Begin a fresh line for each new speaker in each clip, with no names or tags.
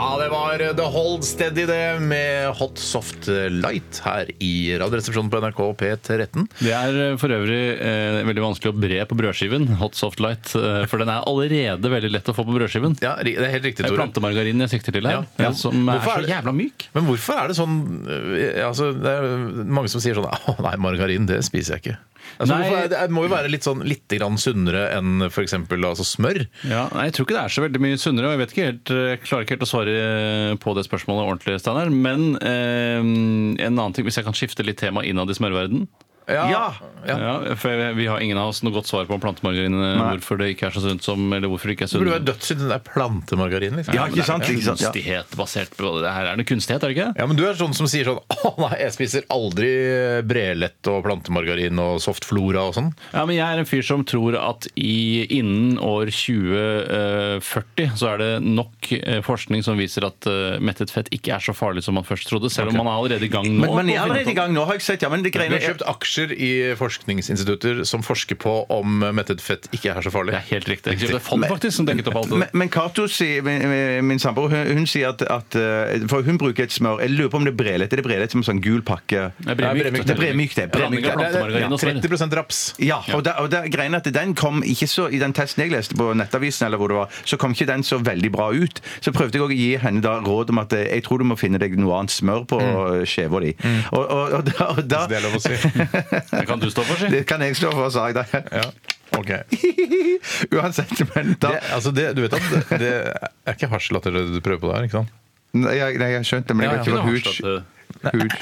var The Hold Steady, det, med Hot Soft Light her i Radioresepsjonen på NRK P13.
Det er eh, for øvrig eh, veldig vanskelig å bre på brødskiven, hot soft light, eh, for den er allerede veldig lett å få på brødskiven.
Ja, ri- det er helt riktig,
Det er
Tore.
plantemargarin jeg sikter til her,
Ja.
ja, som er
Hvorfor er
så
det-
jævla myk.
Men hvorfor er det sånn eh, altså, Det er mange som sier sånn Å nei, margarin, det spiser jeg ikke. Altså,
Nei.
hvorfor er det, det må jo være litt, sånn, litt grann sunnere enn f.eks. Altså, smør.
Ja, nei, jeg tror ikke det er så veldig mye sunnere, og jeg vet ikke helt, eh, jeg klarer ikke helt å svare eh, på det spørsmålet ordentlig, Steinar. Men eh, en annen ting, hvis jeg kan skifte litt tema innad i smørverden.
Ja!
Ja. for jeg- vi har ingen av oss noe godt svar på om plantemargarin eh, hvorfor det ikke er så sunt som Eller hvorfor det ikke er
Det
sunt.
burde være dødssynd, den der plantemargarin. Liksom.
Ja, ikke sant? Ikke sant? Ja.
Kunstighet basert på det her. Er det kunstighet, er det ikke?
Ja, men Du er sånn som sier sånn Å nei, jeg spiser aldri brelett og plantemargarin og soft flora og sånn.
Ja, men jeg er en fyr som tror at i, innen år 2040 så er det nok eh, forskning som viser at eh, mettet fett ikke er så farlig som man først trodde, selv om man er allerede i gang nå.
Men, men
på å finne
jeg er allerede i
ut av-
gang nå, har jeg sett. Ja, men det
Vi
greiene
har kjøpt aksjer i forskningsinstitutter som forsker på om mettet fett ikke er så farlig.
Det er helt riktig. Det er fond faktisk som dekket opp alt det.
Men, men Cato, sier- min, min samboer, hun, hun sier at, at eh, For hun bruker et smør Jeg lurer på om det er brelett. Er det brelett som en sånn gul pakke?
Det er bremykt.
Det er bremykt, det er
Blanding
bremykt.
av plantemargarin og smør.
30 raps.
Ja, og, da, og da, greien er at den kom ikke så I den testen jeg leste på Nettavisen, eller hvor det var, så kom ikke den så veldig bra ut. Så prøvde jeg å gi henne da råd om at eh, jeg tror du må finne deg noe annet smør på mm. skjeva di. Og, og, og da, og da
Det er lov å si.
Det kan du stå for, si.
Det kan jeg slå for, sa jeg da.
Ja. Ok.
Uansett, men da
Det, altså det, du vet at det, det er ikke hasjlatter det du prøver på der, ikke sant?
Nei, jeg, nei, jeg skjønte det, men jeg
Jeg
vet
kunne
ikke
avslått det.
hva hud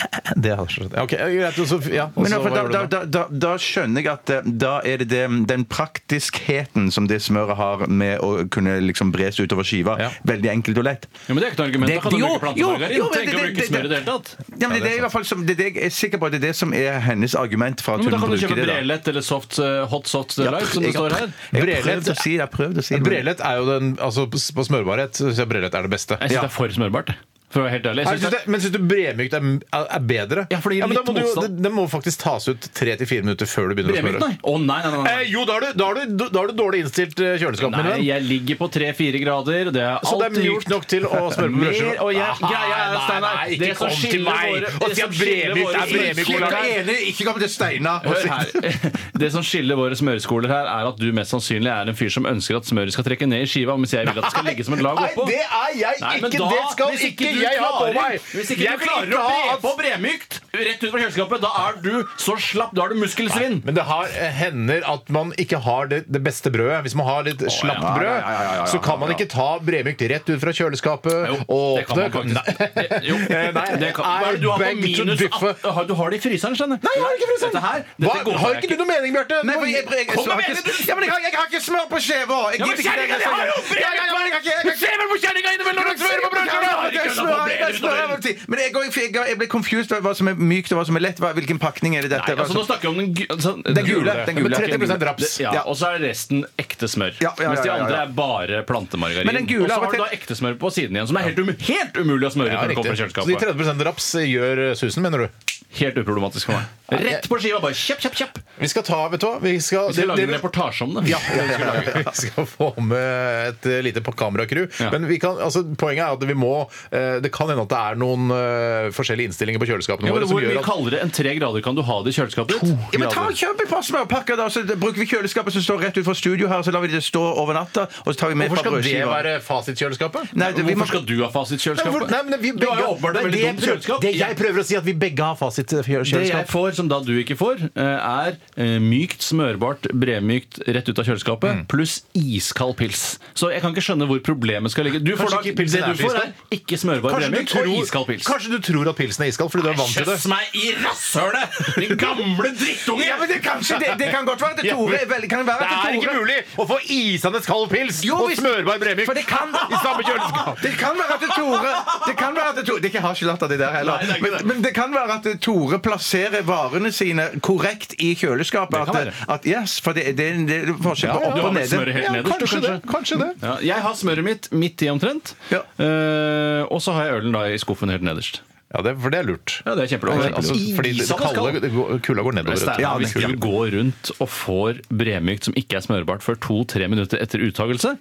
Det er hasjlatter. Ok, greit. og så- Ja, og
Men
så
i hvert fall,
hva gjør du
da,
nå?
da, da, da skjønner jeg at eh, da er det, det den praktiskheten som det smøret har med å kunne liksom bres utover skiva,
Ja.
veldig enkelt og lett.
Ja, men det er ikke noe argument. Da kan du bruke
Det- jo, jo,
plantemargarin.
jo, men
Tenk å
det-
bruke
det-
smør i det hele tatt.
Ja, men det, er i hvert fall som, det, er det jeg er sikker på det er det som er hennes argument for
Ja,
at
men
hun
da kan du
bruker
kjøpe
det. da.
brelett eller soft, eh, hot soft
Ja,
light, som det
jeg har-
står her.
Jeg har
Brelett-
prøvd å si det. Jeg har prøvd å si det. men-
Brelett er jo den Altså på smørbarhet så syns jeg brelett er det beste.
Jeg syns det er for smørbart. For å være helt ærlig.
Nei,
Jeg
jeg synes
synes det,
det, men syns du bremykt er, er bedre?
Ja, for det gir
men da
litt
må du jo-
motstand.
det, det må faktisk tas ut tre til fire minutter før du begynner å
bremykt, nei.
smøre.
Å, nei, nei, nei, nei.
Eh, jo, da har du, da har du, da har du dårlig innstilt eh, kjøleskap. min venn.
Nei, jeg ligger på 3-4 grader. Det er
Så det er
alltid gjort.
mykt nok til å smøre på brødskiva?
Mer, og jeg-
Aha,
greia er,
nei,
Steinar,
nei,
det
Ikke
som
kom til
skiller
meg og
våre- det
si
som
at
skiller
bremykt
våre
er bremykt.
frukter-
Jeg er enig, ikke kom til Steinar!
Hør her. Det som skiller våre smøreskoler her, er at du mest sannsynlig er en fyr som ønsker at smøret skal trekke ned i skiva, mens jeg vil at det skal ligge som en lag oppå.
Nei, det er jeg
Nei, men
ikke!
da,
det skal
hvis
ikke
du
jeg ha på
klarer-
meg!
Hvis ikke
Jeg
du
vil
klarer
ikke
å
ha
bre
at-
på bremykt rett ut fra kjøleskapet, da er du så slapp, da har du muskelsvinn.
Men det har, eh, hender at man ikke har det, det beste brødet. Hvis man har litt slapt
ja,
brød,
ja, ja, ja, ja,
så kan man
ja.
ikke ta bremykt rett ut fra kjøleskapet
Jo,
og
det kan man
åpne.
faktisk. Nei, jo,
Eh, nei,
det kan. Hva er det du har
I
på
beg to
minus
differ.
18? Har- Du har det i fryseren, skjønner
Nei, jeg har ikke fryseren!
Dette her,
Hva,
dette går
har ikke du noe mening, Bjarte?
Nei, men jeg, jeg, jeg,
Kom
så har
igjen,
ikke-
du-
ja, men jeg, har- jeg har ikke smør på skjeva! Jeg
men
gidder ikke
kjerringa,
det.
det har jo brent!
Ja, ja, ja, men jeg har ikke- jeg har ikke-
Se vel på kjerringa innimellom!
Jeg smører på brødskiva! Jeg smører- jeg smører over tid. Men jeg, går- jeg, jeg ble confused over hva som er mykt og hva som er lett. Hva- Hvilken pakning er det dette?
Nei, altså Nå snakker vi om den, gu- altså,
Den gule, den gule.
Men
30% raps.
Ja,
Ja.
Og så er resten ekte smør.
Ja, ja, ja,
Mens de
ja, ja.
andre er bare plantemargarin.
Men den gule
og så
av og
har du
til-
da ekte smør på siden igjen, som er helt, um helt umulig å smøre
Ja,
når
riktig.
det kommer fra
Så de
kjøleskapet.
30 raps gjør susen, mener du?
Helt uproblematisk for meg. Rett på skiva, bare kjapp, kjapp, kjapp.
Vi skal ta, vet du hva Vi skal,
Vi skal lage
det-
en
det-
reportasje om det.
Ja, vi skal, lage- vi skal få med et eh, lite kameracrew.
Ja.
Men vi kan, altså, poenget er at vi må eh, Det kan hende at det er noen eh, forskjellige innstillinger på kjøleskapene
Ja,
våre
men
som
hvor
gjør at
mye kaldere enn tre grader kan du ha det i kjøleskapet ditt?
Ja, men ta og Kjøp et par smørpakker, da, så bruker vi kjøleskapet som står rett utenfor studio her. Så lar vi det stå over natta, og så tar vi med et
Hvorfor skal
par
det
brødskiver.
være fasitkjøleskapet?
Nei, det- vi må-
Hvorfor skal du ha
Nei,
fasitkjøleskapet?
hvor- nei, men vi
du har
begge-
jo åpenbart
det
et
er
veldig
det
dumt
jeg prøver-
kjøleskap.
Det jeg prøver å si, er at vi begge har
Det jeg
fasitkjøleskap.
får som da du ikke får, eh, er eh, mykt, smørbart, bremykt rett ut av kjøleskapet,
Mm.
pluss iskald pils. Så jeg kan ikke skjønne hvor problemet skal ligge. Du får da,
Kanskje ikke pilsen
det
er
du får,
iskald?
er ikke smørbar
Kanskje du,
bremykt og iskald
tror,
pils.
kanskje du tror at pilsen er iskald fordi du er vant til det?
Kjøss meg i rasshølet! Din gamle drittunge!
Ja, men det, kanskje, det, det kan godt være at
Ja,
Tore
men-
er veldig- kan være at
Det er
Tore-
ikke mulig å få isende kald pils
Jo,
og
hvis-
smørbar bremyk
For det kan-
i samme kjøleskap.
Det kan være at det Tore Det kan være at det Tore, det er ikke hasjelatter, det der heller.
Nei, det er ikke
men, men det kan være at det Tore plasserer varene sine korrekt i kjøleskapet.
Det kan
At, at, yes, for det, det, er en- det er forskjell på
ja,
opp
Du har
og
med smøret
nede.
helt nederst, du,
kanskje det. Kanskje det.
Ja, jeg har smøret mitt midt i omtrent,
Ja.
Eh, og så har jeg ølen da i skuffen helt nederst.
Ja, det, for det er lurt.
Ja, det er kjempelurt.
Altså, fordi det
Isende kald.
kalde, det går- kulda går nedover. vet du.
Steinar, hvis
kulda-
du
Mm.
går rundt og får bremykt som ikke er smørbart før to-tre minutter etter uttagelse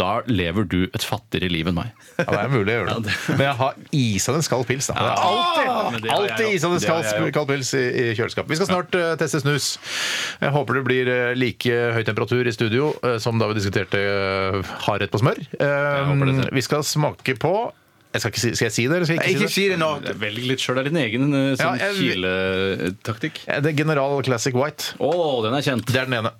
da lever du et fattigere liv enn meg.
Ja, det er mulig å gjøre det. Men jeg har isende kald pils. da. Det er
Ja, men
alltid
det har jeg
alltid
jo.
isende
Det har
kald,
jeg jo.
kald pils i, i kjøleskapet. Vi skal snart eh, teste snus. Jeg håper det blir eh, like høy temperatur i studio eh, som da vi diskuterte uh, hardrett på smør.
håper det
Eh,
selv.
vi skal smake på jeg skal, ikke si, skal jeg si det, eller skal jeg ikke,
Ikke
si det?
si det nå!
Velg litt sjøl. Det er din egen eh,
Ja,
sånn
jeg-
kiletaktikk.
Eh, Det er General Classic White.
Å, den er kjent.
Det er den ene.